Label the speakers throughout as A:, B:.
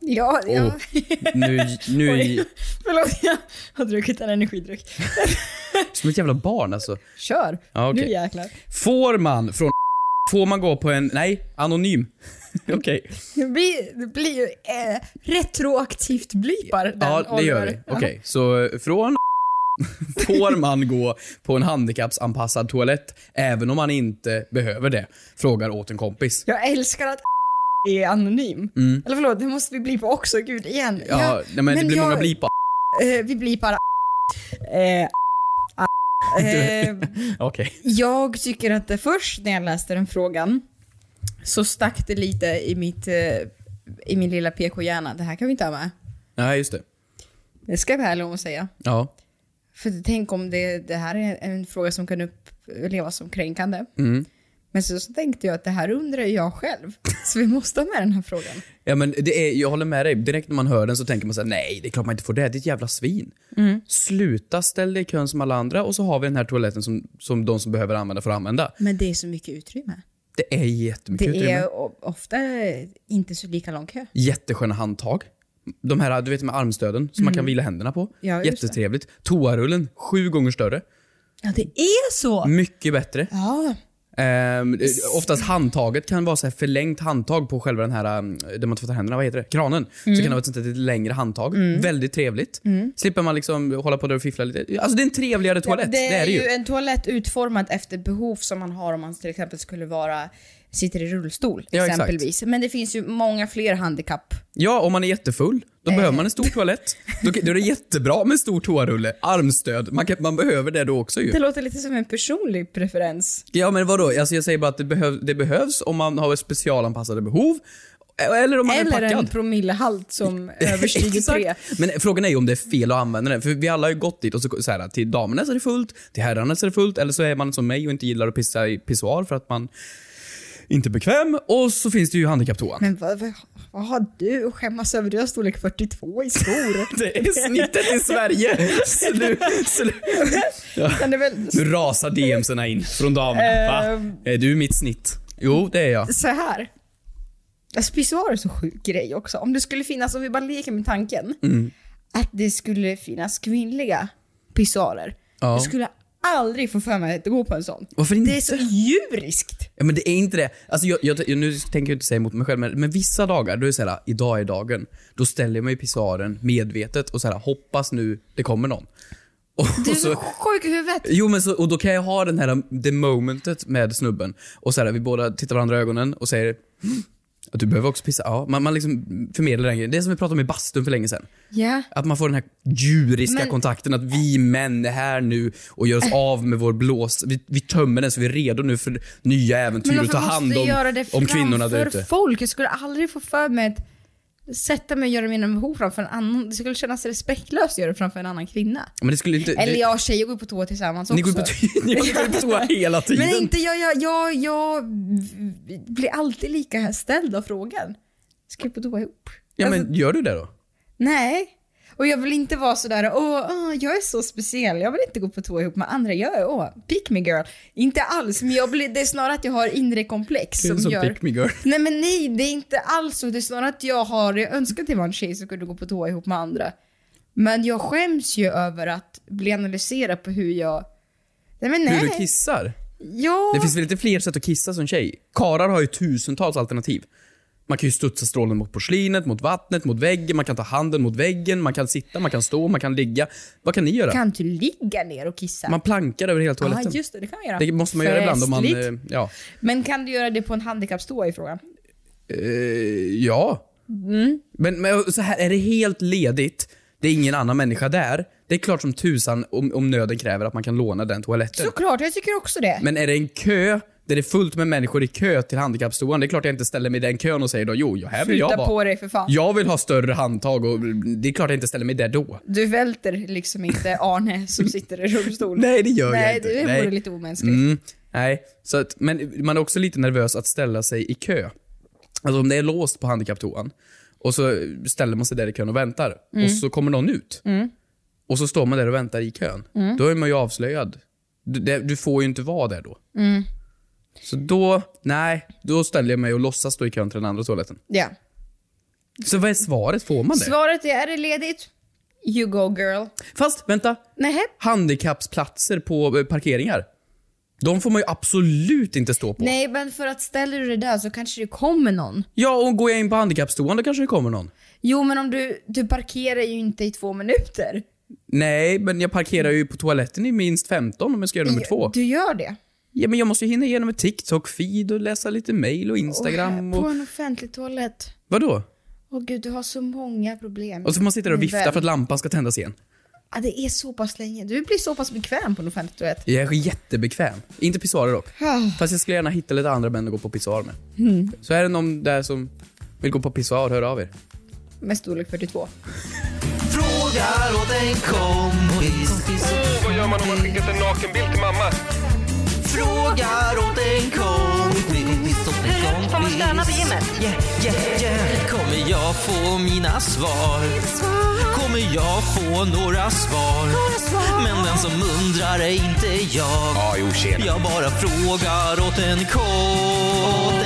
A: Ja, ja.
B: Oh. Nu, nu är
A: förlåt jag har druckit en energidryck.
B: som ett jävla barn alltså.
A: Kör!
B: Ja, okej.
A: Nu jäklar.
B: Får man från Får man gå på en... Nej, anonym. Okej.
A: Det blir, det blir ju eh, retroaktivt blipar den
B: Ja, det gör
A: Oliver.
B: vi. Okej, så eh, från Får man gå på en handikappsanpassad toalett även om man inte behöver det? Frågar åt en kompis.
A: Ja. Jag älskar att är anonym. Eller förlåt, det måste vi blipa också. Gud, igen.
B: Mm. Ja,
A: Jag-
B: nej, men, det blir många blipar.
A: Eh, vi blipar eh, eh,
B: Okej.
A: Jag tycker att det först när jag läste den frågan så stack det lite i, mitt, eh, i min lilla PK-hjärna. Det här kan vi inte ha med.
B: Nej, just det.
A: Det ska jag vara ärlig om att säga.
B: Ja.
A: För tänk om det, det här är en fråga som kan upplevas som kränkande.
B: Mm.
A: Men så, så tänkte jag att det här undrar ju jag själv. Så vi måste ha med den här frågan.
B: Ja men det är, jag håller med dig. Direkt när man hör den så tänker man såhär, nej det är klart man inte får det, ditt jävla svin.
A: Mm.
B: Sluta ställ dig i kön som alla andra och så har vi den här toaletten som, som de som behöver använda får använda.
A: Men det är så mycket utrymme.
B: Det är jättemycket
A: Det
B: utrymme.
A: är o- ofta inte så lika lång kö.
B: Jättesköna handtag. De här du vet med armstöden som man kan vila händerna på.
A: Mm. Ja, just det.
B: Jättetrevligt. Toarullen, sju gånger större.
A: Ja, det är så!
B: Mycket bättre.
A: Ja.
B: Ehm, oftast handtaget kan vara så här förlängt handtag på själva den här, ehm, där man tvättar händerna, vad heter det? Kranen.
A: Mm.
B: Så kan det vara ett sånt här lite längre handtag. Väldigt trevligt. Slipper man liksom hålla på där och fiffla lite. Alltså det är en trevligare toalett, det, är det ju.
A: en toalett utformad efter behov som man har om man till exempel skulle vara sitter i rullstol
B: Ja, exakt.
A: exempelvis. Men det finns ju många fler handikapp.
B: Ja, om man är jättefull, då
A: Eh.
B: behöver man en stor toalett. Då, då är det jättebra med en stor toarulle, armstöd. Man, kan, man behöver det då också ju.
A: Det låter lite som en personlig preferens.
B: Ja men vadå, alltså jag säger bara att det, behöv, det behövs om man har specialanpassade behov. eh, Eller om man är
A: Eller
B: packad.
A: en promillehalt som överstiger
B: Exakt.
A: tre.
B: Men frågan är ju om det är fel att använda den. För vi alla har ju gått dit och så, så här, till damerna så är det fullt, till herrarna så är det fullt, eller så är man som mig och inte gillar att pissa i pissoar för att man inte är bekväm. Och så finns det ju handikapptoan.
A: Men vad, vad, vad har du att skämmas över? Du har storlek 42 i skor.
B: Det är snittet i Sverige. Slu, slu.
A: Utan det är väl
B: Nu rasar DMsarna in från damerna. Va?
A: Ehm.
B: Är du mitt snitt? Jo, det är jag.
A: så här. Alltså pissoar är en så sjuk grej också. Om det skulle finnas, om vi bara leker med tanken,
B: Mm.
A: att det skulle finnas kvinnliga pissoarer.
B: Ja.
A: Jag skulle aldrig få för mig att gå på en sån.
B: Varför inte?
A: Det är så djuriskt.
B: Ja, men det är inte det. Alltså, jag, jag, jag, nu tänker jag inte säga emot mig själv, men, men vissa dagar, då är det såhär, idag är dagen. Då ställer jag mig i pissoaren medvetet och såhär, hoppas nu det kommer någon. Och,
A: Du är
B: och
A: så sjuk i huvudet.
B: Jo men så, och då kan jag ha den här, um, the momentet med snubben. Och såhär, vi båda tittar varandra i ögonen och säger, "Mm, du behöver också pissa. Ja, man, man liksom förmedlar den grejen. Det är som vi pratade om i bastun för länge sedan.
A: Ja.
B: Att man får den här djuriska
A: Men-
B: kontakten, att vi män är här nu och gör oss av med vår blås. Vi, vi tömmer den så vi är redo nu för nya äventyr och ta hand om, om kvinnorna där ute.
A: folk? Jag skulle aldrig få för mig att sätta mig och göra mina behov framför en annan. Det skulle kännas respektlöst att göra det framför en annan kvinna.
B: Men det skulle inte...
A: Eller
B: det,
A: jag och tjejer går på toa tillsammans också.
B: ni går på ni går ut på toa hela tiden.
A: Men inte jag, jag, jag, jag blir alltid lika ställd av frågan. Ska vi på toa ihop?
B: ja
A: Alltså,
B: men gör du det då?
A: nej. Och jag vill inte vara sådär, åh, åh, jag är så speciell, jag vill inte gå på toa ihop med andra, jag är, åh, pick me girl. Inte alls, men jag blir, det är snarare att jag har inre komplex
B: Det är
A: som
B: som
A: gör...
B: pick me girl.
A: Nej men nej, det är inte alls så, det är snarare att jag har, jag önskar att jag var en tjej som kunde gå på toa ihop med andra. Men jag skäms ju över att bli analyserad på hur jag... Nej men nej.
B: Hur du kissar.
A: Ja.
B: Det finns väl lite fler sätt att kissa som tjej? Karar har ju tusentals alternativ. Man kan ju studsa strålen mot porslinet, mot vattnet, mot väggen, man kan ta handen mot väggen, man kan sitta, man kan stå, man kan ligga. Vad kan ni göra?
A: Kan du ligga ner och kissa?
B: Man plankar över hela toaletten.
A: Ja, just det. Det kan man göra.
B: Det måste man göra ibland om man...
A: Festligt.
B: eh, Ja.
A: Men kan du göra det på en handikappstå i frågan?
B: Eh, ja.
A: Mm.
B: Men, men så här, är det helt ledigt, det är ingen annan människa där, det är klart som tusan om, om nöden kräver att man kan låna den toaletten.
A: Såklart, jag tycker också det.
B: Men är det en kö där det är fullt med människor i kö till handikappstoan. Det är klart jag inte ställer mig i den kön och säger då jo, ja, här vill jag
A: Flytta
B: vara.
A: på dig för fan.
B: Jag vill ha större handtag och det är klart jag inte ställer mig där då.
A: Du välter liksom inte Arne som sitter i rullstol.
B: Nej, det gör jag
A: Nej,
B: inte.
A: det
B: Nej.
A: vore lite omänskligt.
B: Mm, nej, så att, men man är också lite nervös att ställa sig i kö. Alltså om det är låst på handikapptoan och så ställer man sig där i kön och väntar och så kommer någon ut. Och så står man där och väntar i kön. Då är man ju avslöjad. Du, det, du får ju inte vara där då. Så då, nej, då ställer jag mig och låtsas stå i kön till den andra toaletten.
A: Ja.
B: Så vad är svaret? Får man det?
A: Svaret är, är det ledigt? You go girl.
B: Fast vänta,
A: Nej.
B: handikappsplatser på eh, parkeringar. De får man ju absolut inte stå på.
A: Nej, men för att ställer du det där så kanske det kommer någon.
B: Ja, och går jag in på handikappstoan då kanske det kommer någon.
A: Jo, men om du, du parkerar ju inte i två minuter.
B: Nej, men jag parkerar ju på toaletten i minst 15 om jag ska göra nummer två.
A: Eh, Du gör det.
B: Ja, men jag måste ju hinna igenom ett TikTok-feed och läsa lite mail och Instagram
A: Och här,
B: och...
A: På en offentlig toalett.
B: Vadå?
A: Åh gud, du har så många problem.
B: Och så får man sitta där och
A: Min
B: vifta
A: vän.
B: för att lampan ska tändas igen.
A: Ja, det är så pass länge. Du blir så pass bekväm på en offentlig toalett. Ah,
B: Jag är jättebekväm. Inte pissoarer dock. Fast jag skulle gärna hitta lite andra män att gå på pissoar med.
A: Mm.
B: Så är det någon där som vill gå på pissoar, hör av er.
A: Med storlek 42.
C: Frågar åt en kompis.
D: Vad gör man om man skickat en nakenbild till mamma?
C: Frågar åt en kompis. Åt en kompis. Får man stöna på gymmet? Yeah, yeah, yeah. Kommer jag få mina svar? Kommer jag få några svar? Men den som undrar är inte jag.
D: Ja, jo, tjena.
C: Jag bara frågar åt en kompis.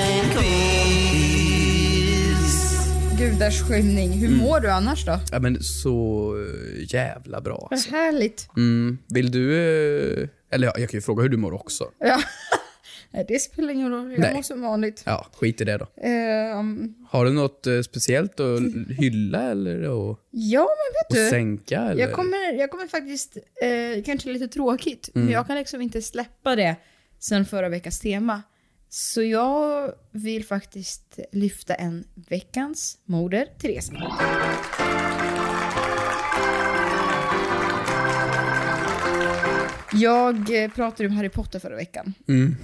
A: Gudars skymning. Hur
B: Mm.
A: mår du annars då?
B: Ja, men så eh, jävla bra.
A: Vad härligt.
B: Mm. Vill du... eh, Eller ja, jag kan ju fråga hur du mår också.
A: Ja. Nej, det spelar ingen roll. Jag
B: Nej.
A: mår som vanligt.
B: Ja, skit i det då.
A: Ehm,
B: Har du något eh, speciellt att
A: Mm.
B: l- hylla eller att
A: ja, men
B: att
A: vet du.
B: sänka? Eller?
A: Jag kommer, jag kommer faktiskt, eh, kanske lite tråkigt,
B: Mm.
A: men jag kan liksom inte släppa det sen förra veckans tema. Så jag vill faktiskt lyfta en veckans moder, Therese. Jag eh, pratade om Harry Potter förra veckan.
B: Mm.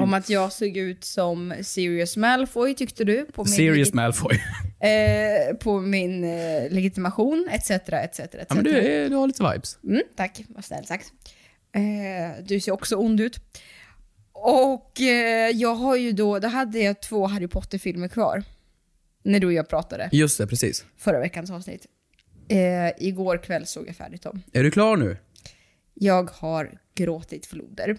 A: om att jag såg ut som Sirius Malfoy tyckte du. På min
B: Serious
A: legit-
B: Malfoy.
A: eh, på min eh, legitimation etc. etc, etc.
B: ja, men du, är, du har lite vibes.
A: Mm, tack, vad snällt sagt. Eh, du ser också ond ut. Och eh, jag har ju då, då hade jag två Harry Potter-filmer kvar. När du och jag pratade,
B: Just det, precis.
A: förra veckans avsnitt. Eh, igår kväll såg jag färdigt dem.
B: Är du klar nu?
A: Jag har gråtit floder.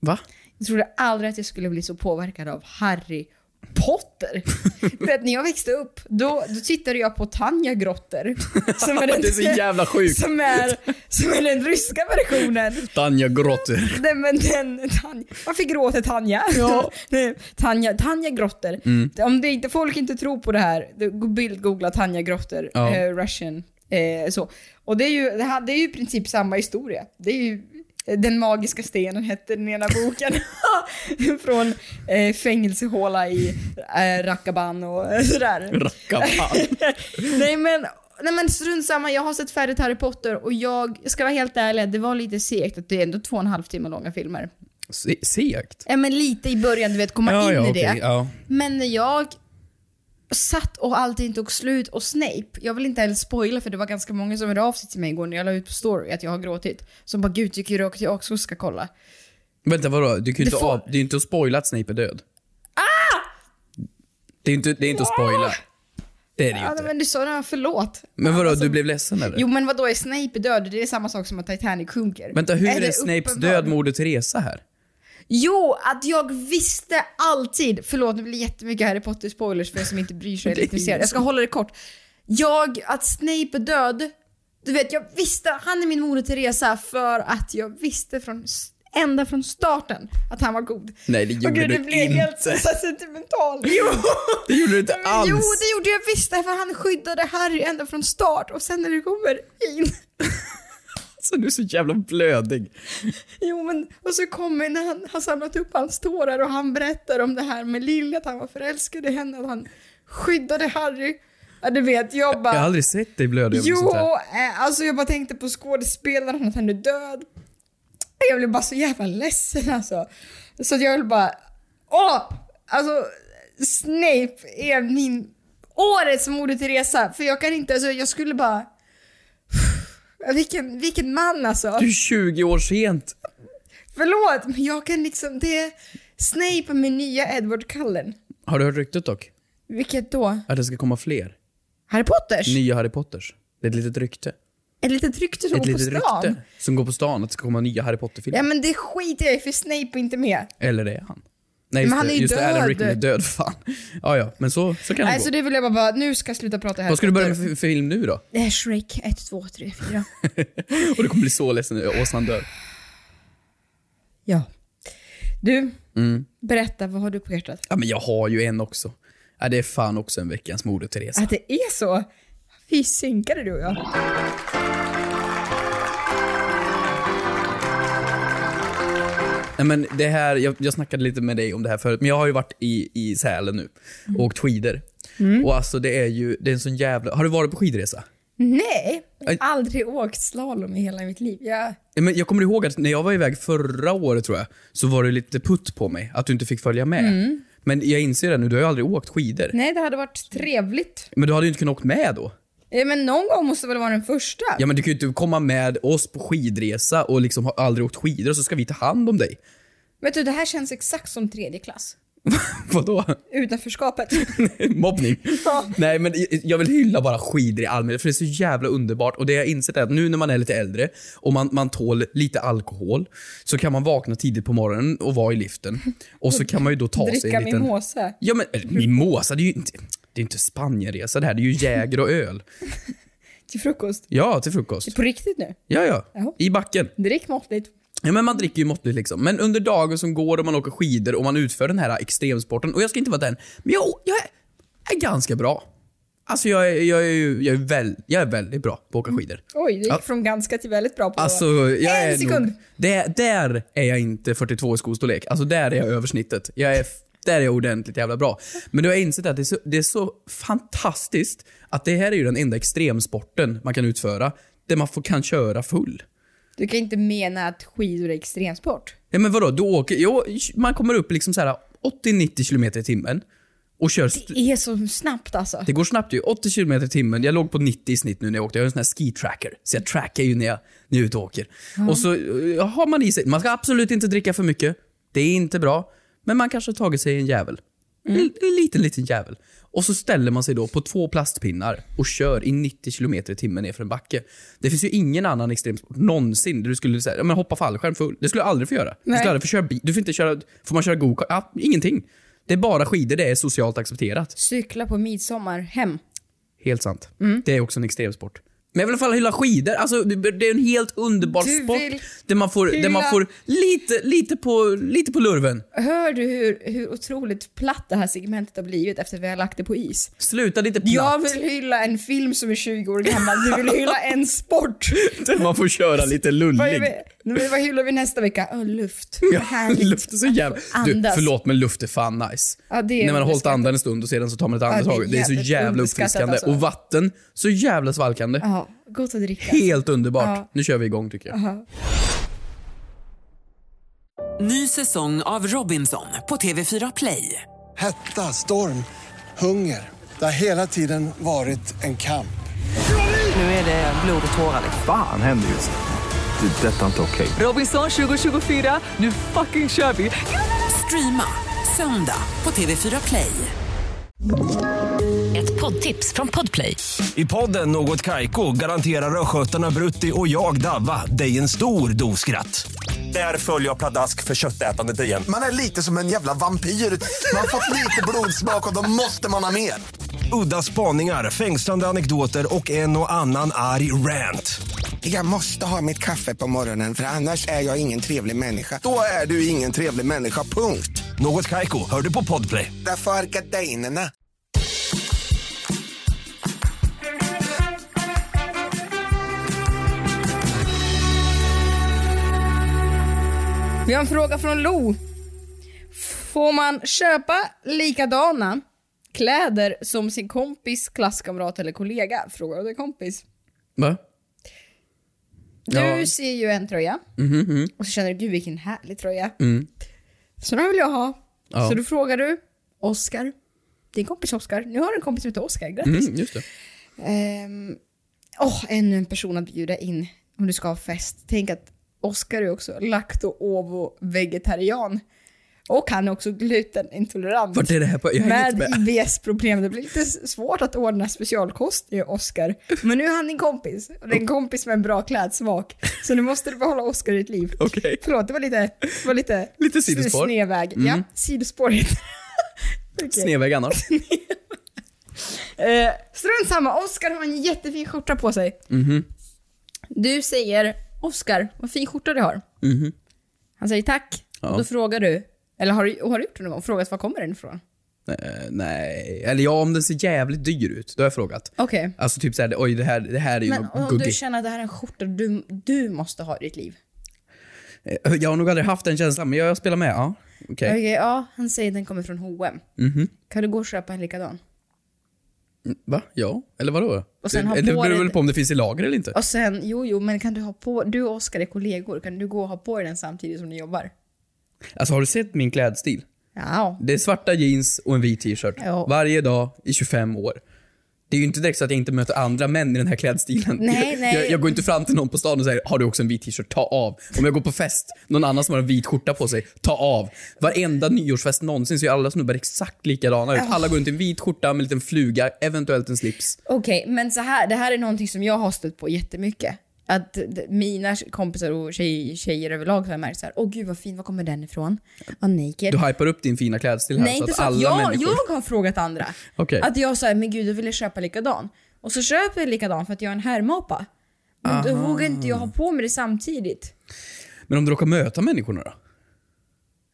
B: Va?
A: Jag trodde aldrig att jag skulle bli så påverkad av Harry Potter. För att när jag växte upp, då, då tittade jag på Tanja Grotter. Som är den,
B: Det är så jävla sjukt.
A: Som är, som är den ryska versionen.
B: Tanja gråter.
A: Nej men den, Tanja, varför gråter Tanja?
B: Ja. Mm.
A: Nej, Tanja, Tanja Grotter. Om det inte, folk inte tror på det här, då bildgoogla Tanja Grotter,
B: Ja.
A: eh, Russian. Eh, så. Och det är, ju, det, här, det är ju i princip samma historia. Det är ju eh, Den magiska stenen hette den ena boken. Från eh, fängelsehåla i eh, Rakaban och eh, sådär.
B: Rackarn.
A: nej men, nej men strunt samma, jag har sett färdigt Harry Potter och jag, jag ska vara helt ärlig, det var lite segt att det är ändå två och en halv timme långa filmer.
B: Se- Segt.
A: Ja men lite i början, du vet, komma in i det.
B: okej, ja.
A: Men när jag satt och allting tog slut och Snape, jag vill inte heller spoila för det var ganska många som hörde av sig till mig igår när jag la ut på story att jag har gråtit. Som bara gud tycker du att jag också ska kolla?
B: Vänta, vadå? Du kan ju
A: Det
B: inte
A: får- Ah!
B: av... Det är ju inte att spoila att Snape är död. Det är inte, det är inte att spoila. Det är det ju
A: Ja
B: inte.
A: men du sa det, förlåt.
B: Men vadå, du blev ledsen eller?
A: Jo men vadå är Snape död? Det är samma sak som att Titanic sjunker.
B: Vänta, hur är,
A: det
B: Snapes
A: uppenbar-
B: död Moder Teresa här?
A: Jo, att jag visste alltid. Förlåt, nu blir det jättemycket Harry Potter-spoilers för er som inte bryr sig eller är intresserade. Jag ska hålla det kort. Jag, att Snape är död. Du vet, jag visste, han är min moder Teresa för att jag visste från ända från starten att han var god.
B: Nej, det
A: Och
B: gjorde
A: gud,
B: du
A: det blev helt
B: inte.
A: så sentimental. Jo.
B: Det gjorde du inte alls.
A: jo, det gjorde jag visst för han skyddade Harry ända från start och sen när det kommer in
B: Så du är så jävla blödig.
A: Jo men, och så kommer när han har samlat upp hans tårar och han berättar om det här med Lilly, att han var förälskad i henne, att han skyddade Harry. Ja du vet, jag
B: Jag har
A: bara...
B: aldrig sett dig blödig över
A: Jo,
B: sånt här.
A: eh, alltså jag bara tänkte på skådespelaren, att han är död. Jag blev bara så jävla ledsen alltså. Så att jag vill bara... Åh! Alltså, Snape är min... Årets Moder Teresa. För jag kan inte, alltså jag skulle bara... Vilken, vilken man alltså.
B: Du är 20 år sent.
A: Förlåt, men jag kan liksom... Det är Snape med nya Edward Cullen.
B: Har du hört ryktet dock?
A: Vilket då?
B: Att det ska komma fler?
A: Harry Potters?
B: Nya Harry Potters? Det är ett litet rykte.
A: Ett litet rykte som
B: Ett
A: går på
B: litet
A: stan?
B: rykte som går på stan att det ska komma nya Harry Potter-filmer.
A: Ja men det skiter jag i för Snape är inte med.
B: Eller det är han. Nej,
A: Men
B: just,
A: han
B: det,
A: är ju
B: just det, Alan
A: död.
B: Rickman är död. Fan. Ja, ja, men så, så kan det
A: Nej, så
B: gå.
A: det vill jag bara, bara nu ska jag sluta prata här.
B: Vad ska du börja med för för film nu då?
A: Det är Shrek 1, 2, 3, 4.
B: Och du kommer bli så ledsen när åsnan dör.
A: ja. Du,
B: Mm.
A: berätta vad har du på hjärtat?
B: Ja, men jag har ju en också. Ja, det är fan också en veckans Moder Teresa.
A: Att det är så? Fy synkade du och jag.
B: Nej, men det här, jag, jag snackade lite med dig om det här förut, men jag har ju varit i, i Sälen nu och åkt skidor.
A: Mm.
B: Och alltså det är ju, det är en sån jävla... Har du varit på skidresa?
A: Nej, jag
B: Aj.
A: har aldrig åkt slalom i hela mitt liv. Jag,
B: Ja, Men jag kommer ihåg att när jag var iväg förra året tror jag, så var det lite putt på mig att du inte fick följa med.
A: Mm.
B: Men jag inser det nu, du har ju aldrig åkt skidor.
A: nej, det hade varit trevligt.
B: Men du hade ju inte kunnat åkt med då.
A: Eh, Men någon gång måste väl vara den första?
B: Ja men du kan ju inte komma med oss på skidresa och liksom har aldrig åkt skidor och så ska vi ta hand om dig.
A: Vet du, typ, det här känns exakt som tredje klass.
B: Vadå?
A: Utanförskapet.
B: Mobbning?
A: Ja.
B: Nej men jag vill hylla bara skidor i allmänhet för det är så jävla underbart och det jag har insett är att nu när man är lite äldre och man, man tål lite alkohol så kan man vakna tidigt på morgonen och vara i liften och så kan man ju då ta sig
A: Dricka
B: en liten...
A: mimosa.
B: Ja men eller, mimosa, det är ju inte, det är inte Spanienresa det här, det är ju jäger och öl.
A: Till frukost.
B: Ja, till frukost.
A: På riktigt nu.
B: Ja, ja.
A: Jaha.
B: I backen.
A: Drick måttligt.
B: Ja, men man dricker ju måttligt liksom. Men under dagen som går och man åker skidor och man utför den här extremsporten. Och jag ska inte vara den, men jag, jag är, är ganska bra. Alltså jag är, jag är, ju- jag är, väl, jag är väldigt bra på att åka skidor.
A: Oj, det gick
B: Ja.
A: från ganska till väldigt bra på
B: Alltså, jag
A: en
B: är
A: sekund.
B: Nog, där, där är jag inte 42 i skostorlek. Alltså där är jag översnittet. Jag är, där är jag ordentligt jävla bra. Men du har jag insett att det är, så, det är så fantastiskt att det här är ju den enda extremsporten man kan utföra. Där man får, kan köra full.
A: Du kan inte mena att skidor är extremsport?
B: Ja men vadå, du åker, jo, man kommer upp liksom så här 80-90 km i timmen och kör... st-
A: Det är så snabbt alltså.
B: Det går snabbt ju, 80 km i timmen. Jag låg på 90 i snitt nu när jag åkte. Jag har en sån här ski-tracker, så jag trackar ju när jag, när jag är ute och åker. Och så eh, har man i sig, man ska absolut inte dricka för mycket. Det är inte bra. Men man kanske har tagit sig en jävel. En en liten, liten jävel. Och så ställer man sig då på två plastpinnar och kör i 90 km i timmen nerför en backe. Det finns ju ingen annan extremsport någonsin där du skulle säga, ja, men hoppa fallskärm full. Det skulle du aldrig få göra. Du
A: Nej.
B: skulle aldrig få köra bil. Du får inte köra, får man köra go-kart? Ja, ingenting. Det är bara skidor, det är socialt accepterat.
A: Cykla på midsommar hem.
B: Helt sant.
A: Mm.
B: Det är också en extremsport. Men jag vill i alla fall hylla skidor. Alltså, det det är en helt underbar
A: Du
B: sport
A: vill
B: där man får, där man
A: hylla-
B: får lite, lite, på, lite på lurven.
A: Hör du hur, hur otroligt platt det här segmentet har blivit efter vi har lagt det på is?
B: Sluta lite platt.
A: Jag vill hylla en film som är 20 år gammal, du vill hylla en sport!
B: Där man får köra lite lullig.
A: Vad, är vi, nu, vad hyllar vi nästa vecka? Oh, luft. Vad
B: Ja,
A: härligt.
B: luft är så jävla... Du,
A: Andas.
B: förlåt men luft är fan nice.
A: Ja, det är
B: När man har hållit
A: underskattat.
B: andan en stund och sedan så tar man ett andetag.
A: det är
B: det, är så
A: jävligt
B: jävla
A: underskattat
B: uppfriskande.
A: alltså.
B: Och vatten, så jävla svalkande.
A: Ja, gott att dricka.
B: Helt underbart.
A: Ja.
B: Nu kör vi igång tycker jag.
E: Ny säsong av Robinson på TV4 Play.
F: Hetta, storm, hunger. Det har hela tiden varit en kamp.
C: Nu är det blod och tårar.
G: Fan händer just det. Det är detta inte okej.
E: Robinson 2024, nu fucking kör vi! Streama söndag på TV4 Play.
H: Ett poddtips från Podplay.
I: I podden Något Kaiko garanterar östgötarna Brutti och jag, Davva, dig en stor dos skratt. Där följer jag pladask för köttätandet igen.
J: Man är lite som en jävla vampyr. Man har fått lite blodsmak och då måste man ha mer.
I: Udda spaningar, fängslande anekdoter och en och annan arg rant.
J: Jag måste ha mitt kaffe på morgonen för annars är jag ingen trevlig människa. Då är du ingen trevlig människa, punkt.
I: Något Kaiko, hör du på Podplay.
J: Därför är gardinerna.
A: Vi har en fråga från Lo. Får man köpa likadana kläder som sin kompis, klasskamrat eller kollega? Frågar du kompis.
B: Va?
A: Du
B: Ja. Mhm,
A: ser ju en tröja och så känner du gud vilken härlig tröja. Så den vill jag ha.
B: Mm. Ja.
A: Så då frågar du Oscar, din kompis Oscar. Nu har du en kompis som heter Oscar, grattis.
B: Mm, just det.
A: Ehm, Åh, ännu en person att bjuda in om du ska ha fest. Tänk att Oskar är också lakto-ovo-vegetarian. Och han är också glutenintolerant.
B: Vart är det här på? Jag hänger
A: med,
B: inte med.
A: IBS-problem. Det blir lite svårt att ordna specialkost i Oskar. Men nu är han din kompis. Och det är en kompis med en bra klädsmak. Så nu måste du behålla Oskar i ditt liv.
B: Okej.
A: Förlåt, det var lite... Det var lite,
B: Lite sidospår. Mm.
A: Snedväg. Ja, sidospår heter det. Okej.
B: Snedväg annars.
A: Eh, strunt samma, Oskar har en jättefin skjorta på sig. Du säger Oskar, vad fin skjorta du har. Mhm. Han säger tack.
B: Ja.
A: Och då frågar du, eller har du, har du gjort det någon gång? Frågat var kommer den ifrån?
B: Eh, nej, eller ja, om den ser jävligt dyr ut, då har jag frågat.
A: Okej.
B: Alltså typ såhär, oj det här, det här är ju
A: Men om
B: något
A: du
B: guggigt.
A: känner att det här är en skjorta du, du måste ha i ditt liv.
B: Eh, Jag har nog aldrig haft den känslan, men jag spelar med. Ja, okej.
A: Okej, ja, han säger den kommer från H&M. Kan du gå och köpa en likadan?
B: Va? Ja? Eller vadå?
A: Och sen
B: det,
A: ha
B: det
A: på
B: beror
A: dig-
B: väl på om det finns i lager eller inte.
A: Och sen, jo, jo, men kan du ha på, du och Oskar är kollegor, kan du gå och ha på dig den samtidigt som ni jobbar?
B: Alltså har du sett min klädstil?
A: Ja.
B: Det är svarta jeans och en vit t-shirt.
A: Ja.
B: Varje dag i 25 år. Det är ju inte direkt så att jag inte möter andra män i den här klädstilen.
A: Nej,
B: jag,
A: nej.
B: Jag, jag går inte fram till någon på stan och säger “Har du också en vit t-shirt? Ta av”. Om jag går på fest, någon annan som har en vit skjorta på sig, ta av. Varenda nyårsfest någonsin så är alla snubbar exakt likadana ut. Alla går runt i en vit skjorta med en liten fluga, eventuellt en slips.
A: Okej, men så här, det här är någonting som jag har stött på jättemycket. Att d- mina kompisar och tjej, tjejer överlag så har jag märkt så här, åh gud vad fin, var kommer den ifrån? Vad naked.
B: Du hypar upp din fina klädstil här
A: Nej,
B: så
A: inte
B: att
A: så att
B: alla
A: jag,
B: människor...
A: jag har frågat andra.
B: Okej.
A: Att jag säger, men gud jag ville köpa likadan. Och så köper jag likadan för att jag är en härmapa. Men då vågar inte jag ha på mig det samtidigt.
B: Men om du råkar möta människorna då?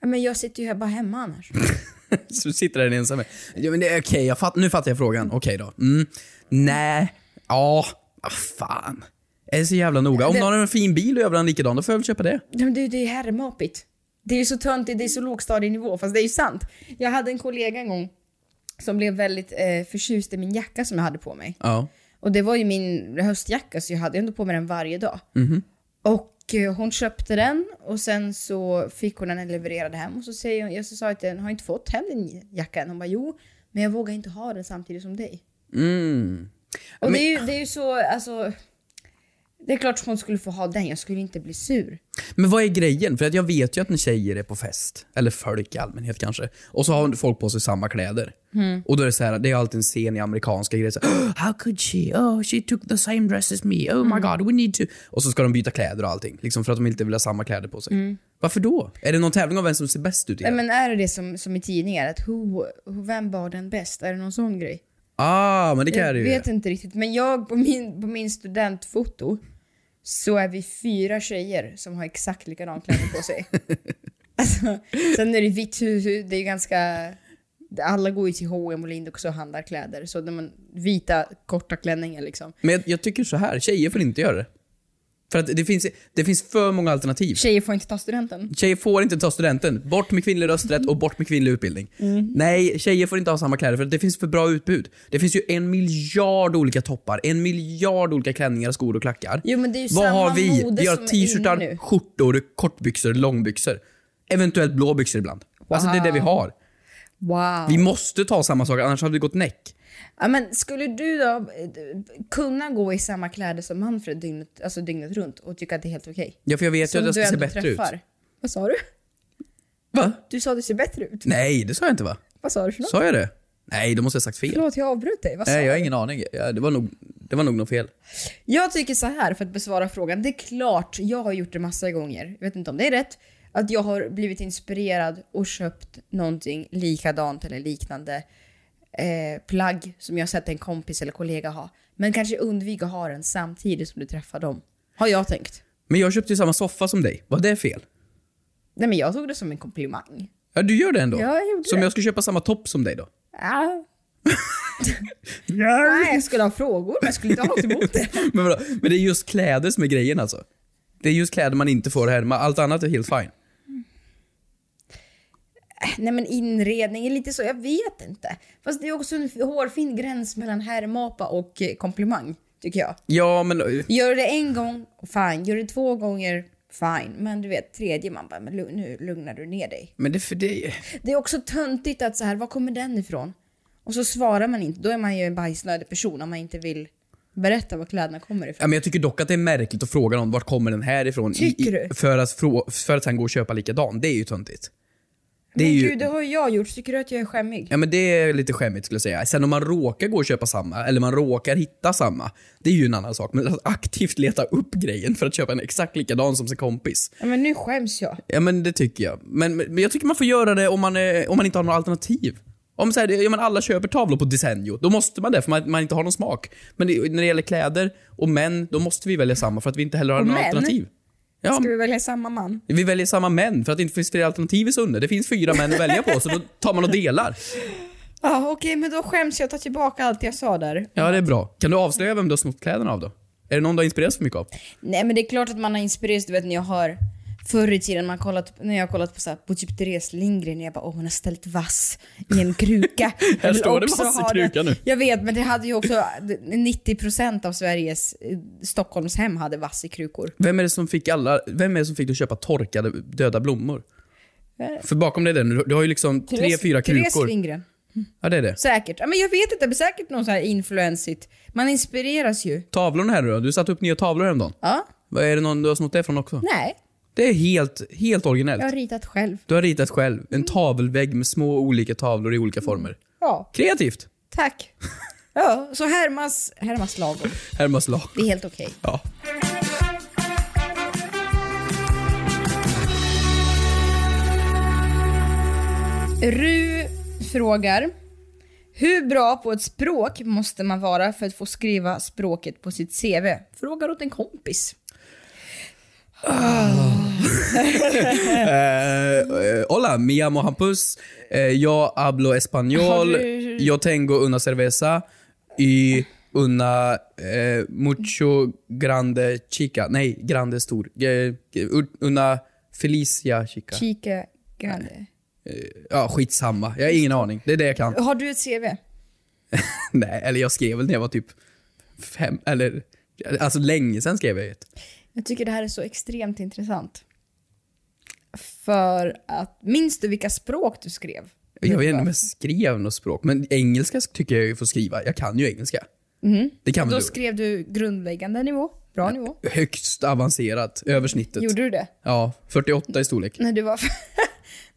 A: Ja, Men jag sitter ju här bara hemma annars.
B: Så du sitter där ensam. Ja, men det är okej, jag fatt, nu fattar jag frågan. Okej då. Mm. Nej. Ja. Ah, fan. Är det så jävla noga? Om
A: Det-
B: någon har en fin bil och jag vill ha en likadan, då får jag väl köpa det.
A: Ja, Men det, det är herrmapigt. Det är ju så töntigt, det är så lågstadienivå, fast det är ju sant. Jag hade en kollega en gång som blev väldigt eh, förtjust i min jacka som jag hade på mig.
B: Ja.
A: Och det var ju min höstjacka så jag hade ju ändå på mig den varje dag. Och eh, hon köpte den och sen så fick hon den levererad hem och så säger hon, jag så sa jag till henne, har jag inte fått hem din jacka än? Hon bara jo, men jag vågar inte ha den samtidigt som dig.
B: Mm.
A: Och det, är ju, det är ju så, alltså. Det är klart som hon skulle få ha den, jag skulle inte bli sur.
B: Men vad är grejen? För att jag vet ju att när tjejer är på fest, eller folk i allmänhet kanske, och så har folk på sig samma kläder. Och då är det så här, det är alltid en scen i amerikanska grejer. Så här, "Oh, How could she? Oh, she took the same dress as me. Oh my god, we need to... Och så ska de byta kläder och allting. Liksom för att de inte vill ha samma kläder på sig. Varför då? Är det någon tävling om vem som ser bäst ut? i
A: Nej,
B: det?
A: men är det det som, som i tidningar, att who, who, vem bar den bäst? Är det någon sån grej?
B: Ah, men det kan
A: Jag
B: det ju.
A: vet inte riktigt, men jag på min, på min studentfoto så är vi fyra tjejer som har exakt likadan kläder på sig. alltså, sen är det vitt hus, det är ju ganska... Alla går ju till H&M och Lindex och handlar kläder, så när man, vita korta klänningar liksom.
B: Men jag, jag tycker så här, tjejer får inte göra det. För att det finns, det finns för många alternativ.
A: Tjejer får inte ta studenten.
B: Tjejer får inte ta studenten. Bort med kvinnlig rösträtt och bort med kvinnlig utbildning.
A: Mm.
B: Nej, tjejer får inte ha samma kläder för att det finns för bra utbud. Det finns ju en miljard olika toppar, en miljard olika klänningar, skor och klackar.
A: Jo, men det är ju
B: Vad
A: samma
B: har vi?
A: mode
B: Vi har
A: som är inne
B: t-shirtar,
A: nu.
B: skjortor, kortbyxor, långbyxor. Eventuellt blå byxor ibland. Alltså det är det vi har.
A: Wow.
B: Vi måste ta samma sak, annars hade vi gått näck.
A: Ja, men skulle du då eh, kunna gå i samma kläder som Manfred dygnet, alltså dygnet runt och tycka att det är helt okej?
B: Ja, för jag vet ju
A: Som
B: att jag
A: du
B: ska se
A: ändå
B: bättre ut.
A: Vad sa du?
B: Va?
A: Du sa att du ser bättre ut.
B: Nej, det sa jag inte va?
A: Vad sa du för något?
B: Sa jag det? Nej, då måste jag ha sagt fel.
A: Förlåt, jag avbröt dig. Vad sa
B: Nej, jag har
A: du?
B: ingen aning. Ja, det, var nog, det var nog något fel.
A: Jag tycker så här för att besvara frågan. Det är klart, jag har gjort det massa gånger. Jag vet inte om det är rätt. Att jag har blivit inspirerad och köpt någonting likadant eller liknande eh, plagg som jag sett en kompis eller kollega ha. Men kanske undvika att ha den samtidigt som du träffar dem. Har jag tänkt.
B: Men jag köpte ju samma soffa som dig. Var det fel?
A: Nej men jag tog det som en komplimang.
B: Ja, du gör det ändå.
A: Ja, jag gjorde
B: Som
A: det.
B: jag skulle köpa samma topp som dig då.
A: Ja. Ah, Nej, jag skulle ha frågor men jag skulle inte ha något emot det.
B: Men, vadå? men det är just kläder som är grejen alltså. Det är just kläder man inte får härma. Allt annat är helt fine.
A: Nej men inredning är lite så, jag vet inte. Fast det är också en hårfin gräns mellan härmapa och eh, komplimang, tycker jag.
B: Ja, men...
A: Gör du det en gång, fine. Gör du det två gånger, fine. Men du vet, tredje man bara, men lu- nu lugnar du ner dig.
B: Men det, för det,
A: Det är också töntigt att så här, var kommer den ifrån? Och så svarar man inte, då är man ju en bajsnödig person om man inte vill berätta var kläderna kommer
B: ja,
A: ifrån.
B: men jag tycker dock att det är märkligt att fråga någon vart kommer den här ifrån i-
A: Tycker
B: i,
A: du?
B: För, att frå, för att sen gå och köpa likadan. Det är ju töntigt. Det är
A: men
B: ju,
A: gud, det har ju jag gjort. Tycker du att jag är skämmig?
B: Ja men det är lite skämmigt skulle jag säga. Sen om man råkar gå och köpa samma, eller man råkar hitta samma, det är ju en annan sak. Men att aktivt leta upp grejen för att köpa en exakt likadan som sin kompis,
A: Ja, men nu skäms jag.
B: ja men det tycker jag. Men, men jag tycker man får göra det om man, är, om man inte har några alternativ. Om så här, ja, men alla köper tavlor på Desenio, då måste man det för man, man inte har någon smak. Men det, när det gäller kläder och män, då måste vi välja samma för att vi inte heller har
A: Och
B: några
A: män?
B: alternativ. Ja,
A: Ska vi välja samma man?
B: vi väljer samma män för att det inte finns fler alternativ i Sunne. Det finns fyra män att välja på, så då tar man och delar.
A: Ja, okej, men då skäms jag. Ta tillbaka allt jag sa där.
B: Ja, det är bra. Kan du avslöja vem du har snott kläderna av då? Är det någon du har inspirerats för mycket av?
A: Nej, men det är klart att man har inspirerats. Du vet när jag har förr i tiden man kollat, när jag har kollat på, så här, på typ Therese Lindgren. Jag bara, åh hon har ställt vass i en kruka. Jag
B: Här
A: vill
B: står det
A: också
B: vass i
A: ha
B: kruka nu.
A: Jag vet, men det hade ju också 90% av Sveriges eh, Stockholmshem hade vass i krukor.
B: Vem är det som fick, alla, vem är det som fick dig att köpa torkade döda blommor?
A: Eh.
B: För bakom dig där nu, du har ju liksom tre,
A: Therese-
B: fyra
A: Therese
B: krukor.
A: Lindgren.
B: Ja, det är det.
A: Säkert. Ja, men jag vet inte, men säkert någon så här influensigt. Man inspireras ju.
B: Tavlorna här nu då? Du satte upp nya tavlor häromdagen.
A: Ja.
B: Vad Är det någon du har snott det från också?
A: Nej,
B: Det är helt, helt
A: jag har
B: originellt.
A: ritat själv.
B: Du har ritat själv. En tavelvägg med små olika tavlor i olika
A: Mm.
B: former.
A: Ja,
B: Kreativt!
A: tack. Ja, så härmas, härmas lagom.
B: Hermas lag.
A: Det är helt okej.
B: Ja.
A: Ru frågar. Hur bra på ett språk måste man vara för att få skriva språket på sitt CV? Frågar åt en kompis.
B: Eh, hola, mi llamo Hampus. Eh, yo hablo español.
A: Har du-
B: Yo tengo una cerveza y una eh, mucho grande chica. Nej, grande stor. Eh, una felicia chica.
A: Kika Grande.
B: Ja, skitsamma. Jag har ingen aning. Det är det jag kan.
A: Har du ett CV?
B: Nej, eller jag skrev väl när jag var typ fem, eller alltså länge sen skrev jag ett.
A: Jag tycker det här är så extremt intressant. För att, minns du vilka språk du skrev?
B: Jag vet inte om jag skrev något språk, men engelska tycker jag ju får skriva. Jag kan ju engelska. Det kan väl
A: Mhm. Då
B: du?
A: skrev du grundläggande nivå, bra nivå.
B: högst avancerat, över snittet.
A: Gjorde du det?
B: Ja, 48 i storlek.
A: När du var...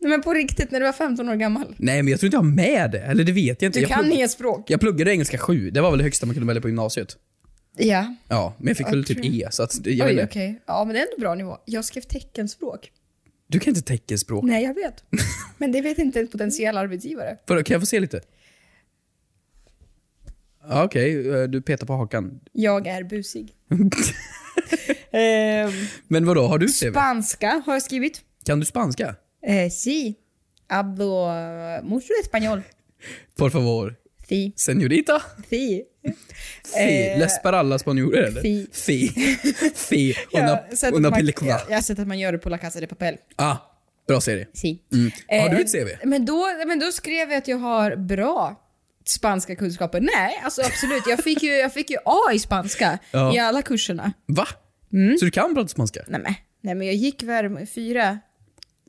A: Nej men på riktigt, när du var 15 år gammal.
B: Nej, men jag tror inte jag har med det. Eller det vet jag inte.
A: Du
B: jag,
A: kan E.
B: plugg-
A: inget språk.
B: jag pluggade engelska 7. Det var väl det högsta man kunde välja på gymnasiet.
A: Ja.
B: Ja, men jag fick väl typ E. Så att, det- jag
A: Oj,
B: vet
A: okej.
B: inte.
A: Ja, men det är ändå bra nivå. Jag skrev teckenspråk.
B: Du kan inte teckenspråk.
A: Nej, jag vet. Men det vet inte en potentiell arbetsgivare.
B: Vadå, Kan jag få se lite? Ja, Okej, eh, du petar på hakan.
A: Jag är busig. Ehm,
B: Men vadå, har du CV?
A: spanska har jag skrivit.
B: Kan du spanska?
A: Eh, si. Hablo mucho español.
B: Por favor.
A: Si.
B: Senorita?
A: Si.
B: Fi. Les para alla spanjorer eller?
A: Eh, fi.
B: Fi. Fi. Una,
A: Jag har sett
B: una
A: att man-
B: película.
A: Jag har sett att man gör det på La Casa de Papel.
B: Ah, bra serie.
A: Si.
B: Har
A: Eh,
B: Mm. du ett CV?
A: Men då, men då skrev jag att jag har bra spanska kunskaper. Nej, alltså absolut. Jag fick ju, jag fick ju A i spanska
B: Ja.
A: i alla kurserna.
B: Va?
A: mm.
B: Så du kan prata spanska?
A: Nej men, nej, men jag gick väl fyra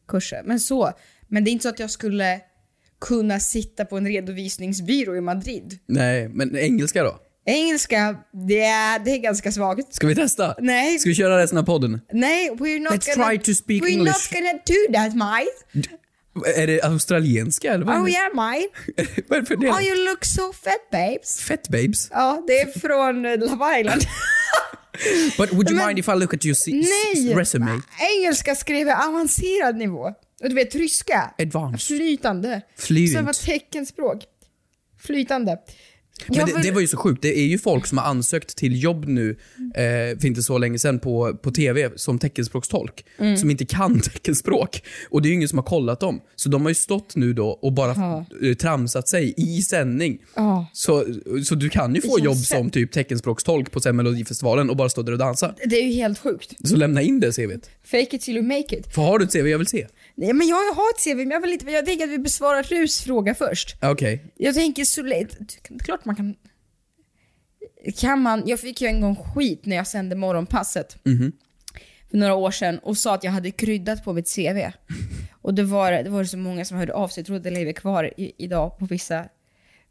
A: kurser, men så. Men det är inte så att jag skulle kunna sitta på en redovisningsbyrå i Madrid.
B: Nej, men engelska då?
A: Engelska, det är, det är ganska svagt.
B: Ska vi testa?
A: Nej.
B: Ska vi köra resten av podden?
A: Nej, we're not
B: Let's
A: gonna...
B: try to speak
A: we're
B: English.
A: not gonna do that, mate.
B: Är det australienska eller vad är
A: Oh
B: det?
A: yeah, mate.
B: Vad är det för del?
A: Oh, you look so fat, babes.
B: Fett babes.
A: Ja, det är från eh, Love Island.
B: But would you
A: Men-
B: mind if I look at your si- s-
A: Nej!
B: resume?
A: Engelska skrev jag avancerad nivå. Och du vet, ryska.
B: Advanced.
A: Flytande.
B: Fluent.
A: Sen var teckenspråk. Flytande.
B: Men det, det var ju så sjukt. Det är ju folk som har ansökt till jobb nu eh, för inte så länge sedan på, på TV som teckenspråkstolk.
A: Mm.
B: Som inte kan teckenspråk. Och det är ju ingen som har kollat dem. Så de har ju stått nu då och bara eh, tramsat sig i sändning.
A: Ja.
B: Så, så du kan ju få
A: Jag
B: jobb
A: ser-
B: som typ teckenspråkstolk på sen Melodifestivalen och bara stå där och dansa.
A: det är ju helt sjukt.
B: Så lämna in det CVt.
A: Fake it till you make it.
B: För har du ett CV? Jag vill se.
A: Nej, men jag har ett CV, men jag, vill inte, jag tänker att vi besvarar Rus fråga först.
B: Okej.
A: Jag tänker så lätt. Klart man kan... Kan man... Jag fick ju en gång skit när jag sände morgonpasset. för några år sedan och sa att jag hade kryddat på mitt CV. Och det var det var så många som hörde av sig, jag tror det lever kvar i, idag på vissa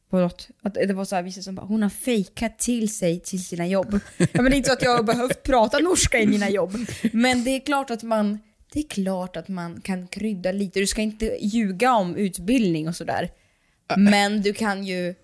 A: på något. Att det var så här, vissa som bara, hon har fejkat till sig till sina jobb. Ja, men det är inte så att jag har behövt prata norska i mina jobb. Men det är klart att man, det är klart att man kan krydda lite. Du ska inte ljuga om utbildning och sådär. Men du kan ju,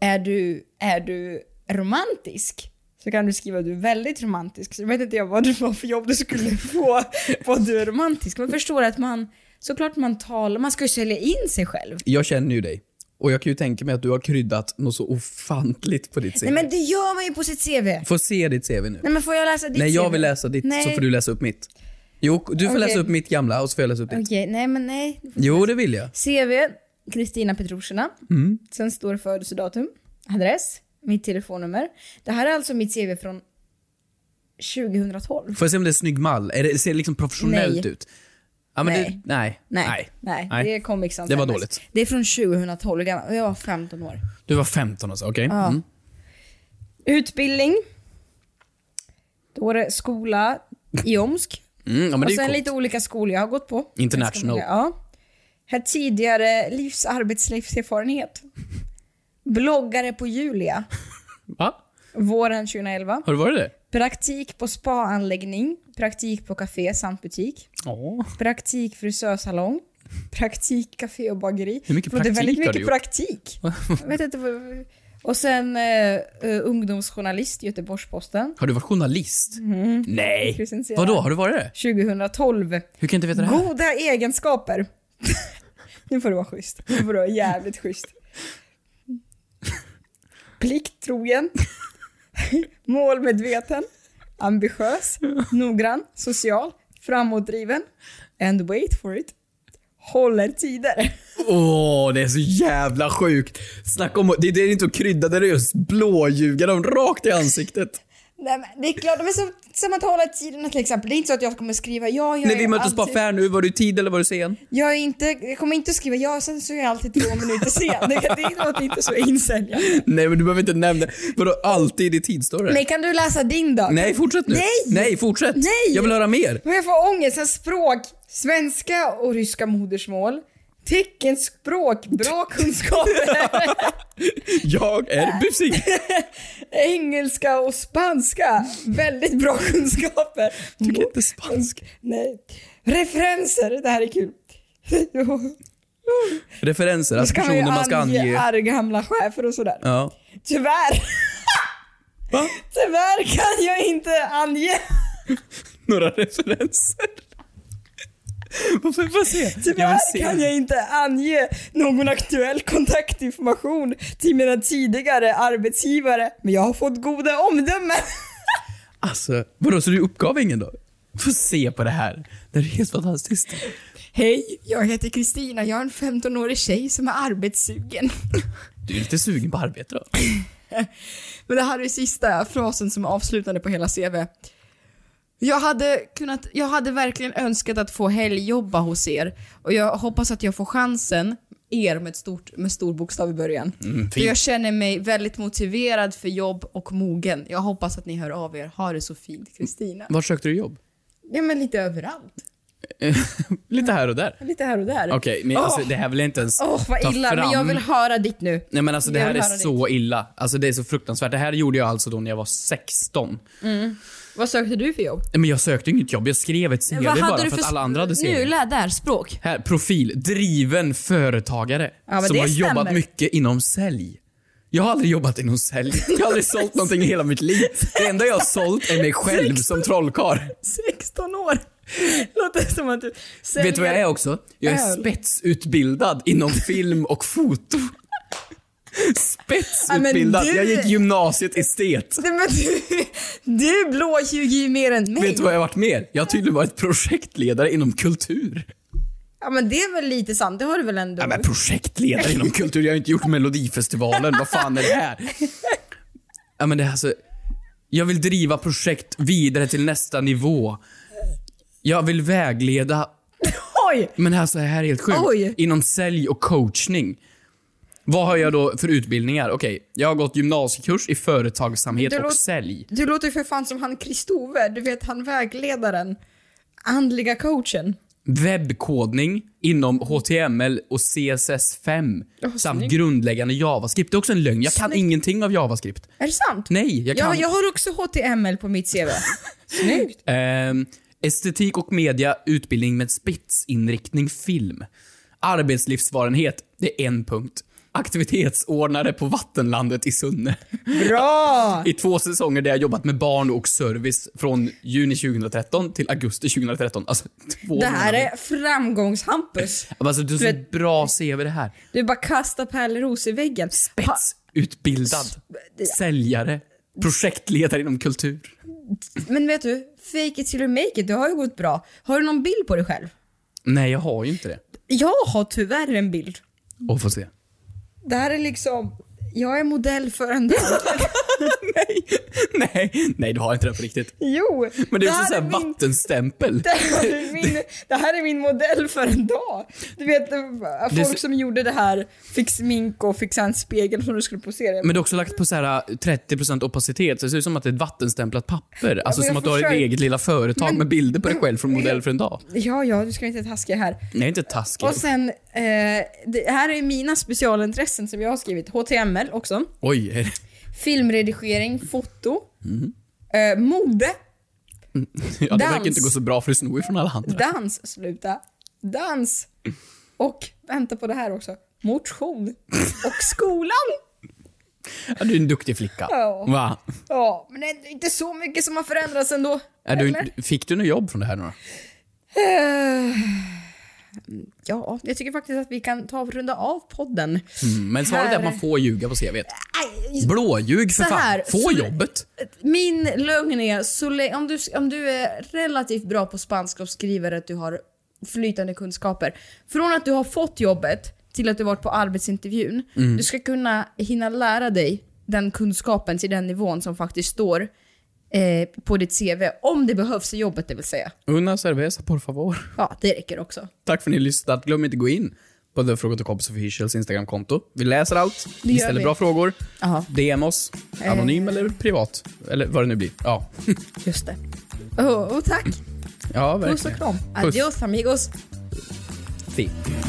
A: är du, är du romantisk? Så kan du skriva att du är väldigt romantisk. Så vet inte jag vad det var för jobb du skulle få på att du är romantisk. Men förstår att man, såklart man talar, man ska ju sälja in sig själv.
B: Jag känner ju dig. Och jag kan ju tänka mig att du har kryddat något så ofantligt på ditt CV.
A: Nej men det gör man ju på sitt CV.
B: Får se ditt CV nu.
A: Nej men får jag läsa ditt
B: Nej, jag
A: CV?
B: vill läsa ditt
A: nej.
B: så får du läsa upp mitt. Jo, du får
A: Okej. Mm.
B: läsa upp mitt gamla och så får jag läsa upp ditt.
A: Okej, nej men nej.
B: Jo, det vill jag.
A: CV, Kristina Petrushina.
B: Mm.
A: Sen står födelsedatum, adress, mitt telefonnummer. Det här är alltså mitt CV från 2012.
B: Får jag se om det är snygg mall? Är det, ser det liksom professionellt
A: Nej.
B: ut? Ja, men
A: Nej.
B: Det, nej.
A: Nej, nej, det är Comic Sans
B: Det var
A: MS.
B: dåligt.
A: Det är från 2012, jag var- jag var 15 år.
B: Du var 15 och så, okej?
A: Ja.
B: Mm.
A: Utbildning. Då var det skola i Omsk.
B: Mm, ja, men
A: och
B: det är
A: sen
B: ju coolt.
A: lite olika skolor jag har gått på.
B: International.
A: Ganska många, Ja. Här tidigare livs arbetslivserfarenhet. Bloggare på Julia,
B: Va?
A: våren 2011.
B: Har du varit det?
A: Praktik på spaanläggning, praktik på café samt butik.
B: Ja.
A: Praktik frisörsalong, praktik café och bageri.
B: Hur mycket
A: För det är
B: praktik
A: väldigt
B: har
A: mycket
B: du gjort?
A: praktik. Jag vet inte vad... Och sen eh, eh, ungdomsjournalist, Göteborgs-Posten.
B: Har du varit journalist?
A: Mm.
B: Nej.
A: Kristin Sena.
B: Vadå, har du varit det?
A: 2012.
B: Hur kan jag inte veta det här?
A: Goda egenskaper. nu får du vara schysst. Nu får du vara jävligt schysst. Plikttrogen. Målmedveten. Ambitiös. Noggrann. Social. Framåtdriven. And wait for it. Håller tider.
B: Åh, det är så jävla sjukt. Snacka om det, det är inte att krydda, det är just blåljuga dem rakt i ansiktet.
A: Nej, men det är klart, men som, som att hålla tiderna till exempel. Det är inte så att jag kommer skriva ja, jag
B: När
A: är
B: vi möttes
A: alltid-
B: på affär nu, var du i tid eller var du sen?
A: Jag, är inte, jag kommer inte skriva ja, sen så är jag alltid två minuter sen. Det, det låter inte så insäljande.
B: Nej men du behöver inte nämna, vadå alltid i tid står det?
A: Men kan du läsa din då?
B: Nej, fortsätt nu.
A: Nej!
B: Nej, fortsätt.
A: Nej!
B: Jag vill höra mer.
A: Men jag får ångest. Sen språk, svenska och ryska modersmål. Teckenspråk, bra kunskaper.
B: Jag är busig.
A: Engelska och spanska, väldigt bra kunskaper.
B: Tycker inte spansk.
A: Nej. Referenser, det här är kul.
B: Referenser, alltså
A: Då ska man ju
B: personer man ska
A: ange
B: ange.
A: arg gamla chefer och sådär.
B: Ja.
A: Tyvärr.
B: Va?
A: Tyvärr kan jag inte ange.
B: Några referenser. Varför, får jag se? Jag vill
A: Tyvärr
B: se.
A: kan jag inte ange någon aktuell kontaktinformation till mina tidigare arbetsgivare, men jag har fått goda omdömen.
B: Alltså, vadå så du uppgav ingen då? Få se på det här. Det här är helt fantastiskt.
A: Hej, jag heter Kristina. Jag är en 15-årig tjej som är arbetssugen.
B: Du är lite sugen på arbete då?
A: Men det här är sista frasen som är avslutande på hela CV. Jag hade, kunnat, jag hade verkligen önskat att få helgjobba hos er och jag hoppas att jag får chansen, er med, ett stort, med stor bokstav i början.
B: Mm,
A: för jag känner mig väldigt motiverad för jobb och mogen. Jag hoppas att ni hör av er. Ha det så fint, Kristina.
B: Var sökte du jobb?
A: Ja, men lite överallt.
B: lite här och där.
A: Lite här och där. Åh,
B: Okej, men alltså, det här vill jag inte ens
A: vad
B: ta
A: illa.
B: fram.
A: Men jag vill höra ditt nu.
B: Nej men alltså det
A: Jag
B: här
A: vill
B: är
A: höra
B: så illa. Alltså det är så fruktansvärt. Det här gjorde jag alltså då när jag var 16.
A: Vad sökte du för jobb?
B: Nej, Men jag sökte inget jobb, jag skrev ett CV
A: Vad
B: bara
A: hade
B: för,
A: du för
B: att alla andra hade CV.
A: Nu, lär där. Språk.
B: Här, profil. Driven företagare.
A: men
B: som
A: det
B: har
A: stämmer.
B: jobbat mycket inom sälj. Jag har aldrig jobbat inom sälj. Jag har aldrig sålt någonting i hela mitt liv. Det enda jag har sålt är mig själv som trollkarl.
A: 16 år. Låter som att du
B: Vet du vad jag är också? Jag är
A: Öl.
B: spetsutbildad inom film och foto. Spetsutbildad.
A: Ja, men du-
B: Jag gick gymnasiet estet.
A: Nej, men du, du blåljuger ju mer än mig.
B: Vet du vad jag har varit mer? Jag har tydligen varit projektledare inom kultur.
A: Ja men det är väl lite sant, det har du väl ändå?
B: Ja, men projektledare inom kultur, jag har inte gjort Melodifestivalen, vad fan är det här? Ja, men det är alltså, jag vill driva projekt vidare till nästa nivå. Jag vill vägleda,
A: Oj!
B: men alltså det här är helt sjukt.
A: Oj.
B: Inom sälj och coachning. Vad har jag då för utbildningar? Okej, jag har gått gymnasiekurs i företagsamhet
A: Du
B: och
A: låt-
B: sälj.
A: Du låter ju för fan som han Kristove, du vet han vägledaren. Andliga coachen.
B: Webbkodning inom HTML och CSS5 samt grundläggande JavaScript. Det är också en lögn. Jag kan ingenting av JavaScript.
A: Är det sant?
B: Nej, jag kan...
A: Jag, jag har också HTML på mitt CV. Snyggt.
B: Ehm, estetik och media, utbildning med spetsinriktning film. Arbetslivsvarenhet, det är en punkt. Aktivitetsordnare på Vattenlandet i Sunne.
A: Bra!
B: I två säsonger där jag jobbat med barn och service från juni 2013 till augusti 2013. Alltså, två
A: Det här
B: månader.
A: är framgångshampus.
B: Alltså, du har så
A: vet-
B: bra CV det här.
A: Du bara kastar pärlros i väggen. Ha,
B: Spetsutbildad. Säljare. Projektledare inom kultur.
A: men vet du, fake it till you make it, det har ju gått bra. Har du någon bild på dig själv?
B: Nej, jag har ju inte det.
A: Jag har tyvärr en bild.
B: Och får se.
A: Det här är liksom, jag är modell för en dag.
B: Nej, nej du har inte det på riktigt.
A: Jo!
B: Men det är ju
A: här
B: sån här
A: min-
B: vattenstämpel.
A: Det här, är min, det här är min modell för en dag. Du vet, eh,
B: är
A: folk
B: så-
A: som gjorde det här fick smink och fick så här en spegel som du skulle posera
B: Men du har också lagt på så här 30% opacitet, så det ser ut som att det är ett vattenstämplat papper. Alltså
A: jag
B: som att du har ett
A: försöker.
B: eget lilla företag med bilder på dig själv från modell för en dag.
A: Ja, ja, du ska inte vara taskig här.
B: Nej, inte taskigt.
A: Och sen, eh, det här är mina specialintressen som jag har skrivit. HTML också.
B: Oj, är det-
A: Filmredigering, foto,
B: Mm.
A: eh, mode,
B: ja, det
A: Dans.
B: verkar inte gå så bra för du snor ju från alla andra.
A: dans, sluta, dans och, vänta på det här också, motion och skolan.
B: Ja, du är en duktig flicka.
A: Ja.
B: Va?
A: Ja, men det är inte så mycket som har förändrats ändå.
B: Är du,
A: Eller?
B: fick du något jobb från det här nu då?
A: Eh, Ja, jag tycker faktiskt att vi kan ta och runda av podden.
B: Mm, Men svaret är att
A: Här.
B: man får ljuga på CVt.
A: Aj,
B: Blåljug för
A: Så
B: fan.
A: här,
B: Få
A: så-
B: jobbet.
A: Min lögn är, så lä- om, du, om du är relativt bra på spanska och skriver att du har flytande kunskaper. Från att du har fått jobbet till att du varit på arbetsintervjun. Du ska kunna hinna lära dig den kunskapen till den nivån som faktiskt står eh, på ditt CV. Om det behövs i jobbet det vill säga.
B: Una cerveza, por favor.
A: Ja, det räcker också.
B: Tack för att ni har lyssnat. Glöm inte gå in på The Fråga till Kompis Officials Instagramkonto. Vi läser allt, vi
A: gör
B: ställer
A: vi. Eh.
B: bra frågor.
A: Jaha.
B: DM oss, anonym eller privat. Eller vad det nu blir. Ja,
A: Just det. Oh, och tack!
B: ja verkligen.
A: Puss och kram.
B: Puss.
A: Adios amigos.
B: Fint.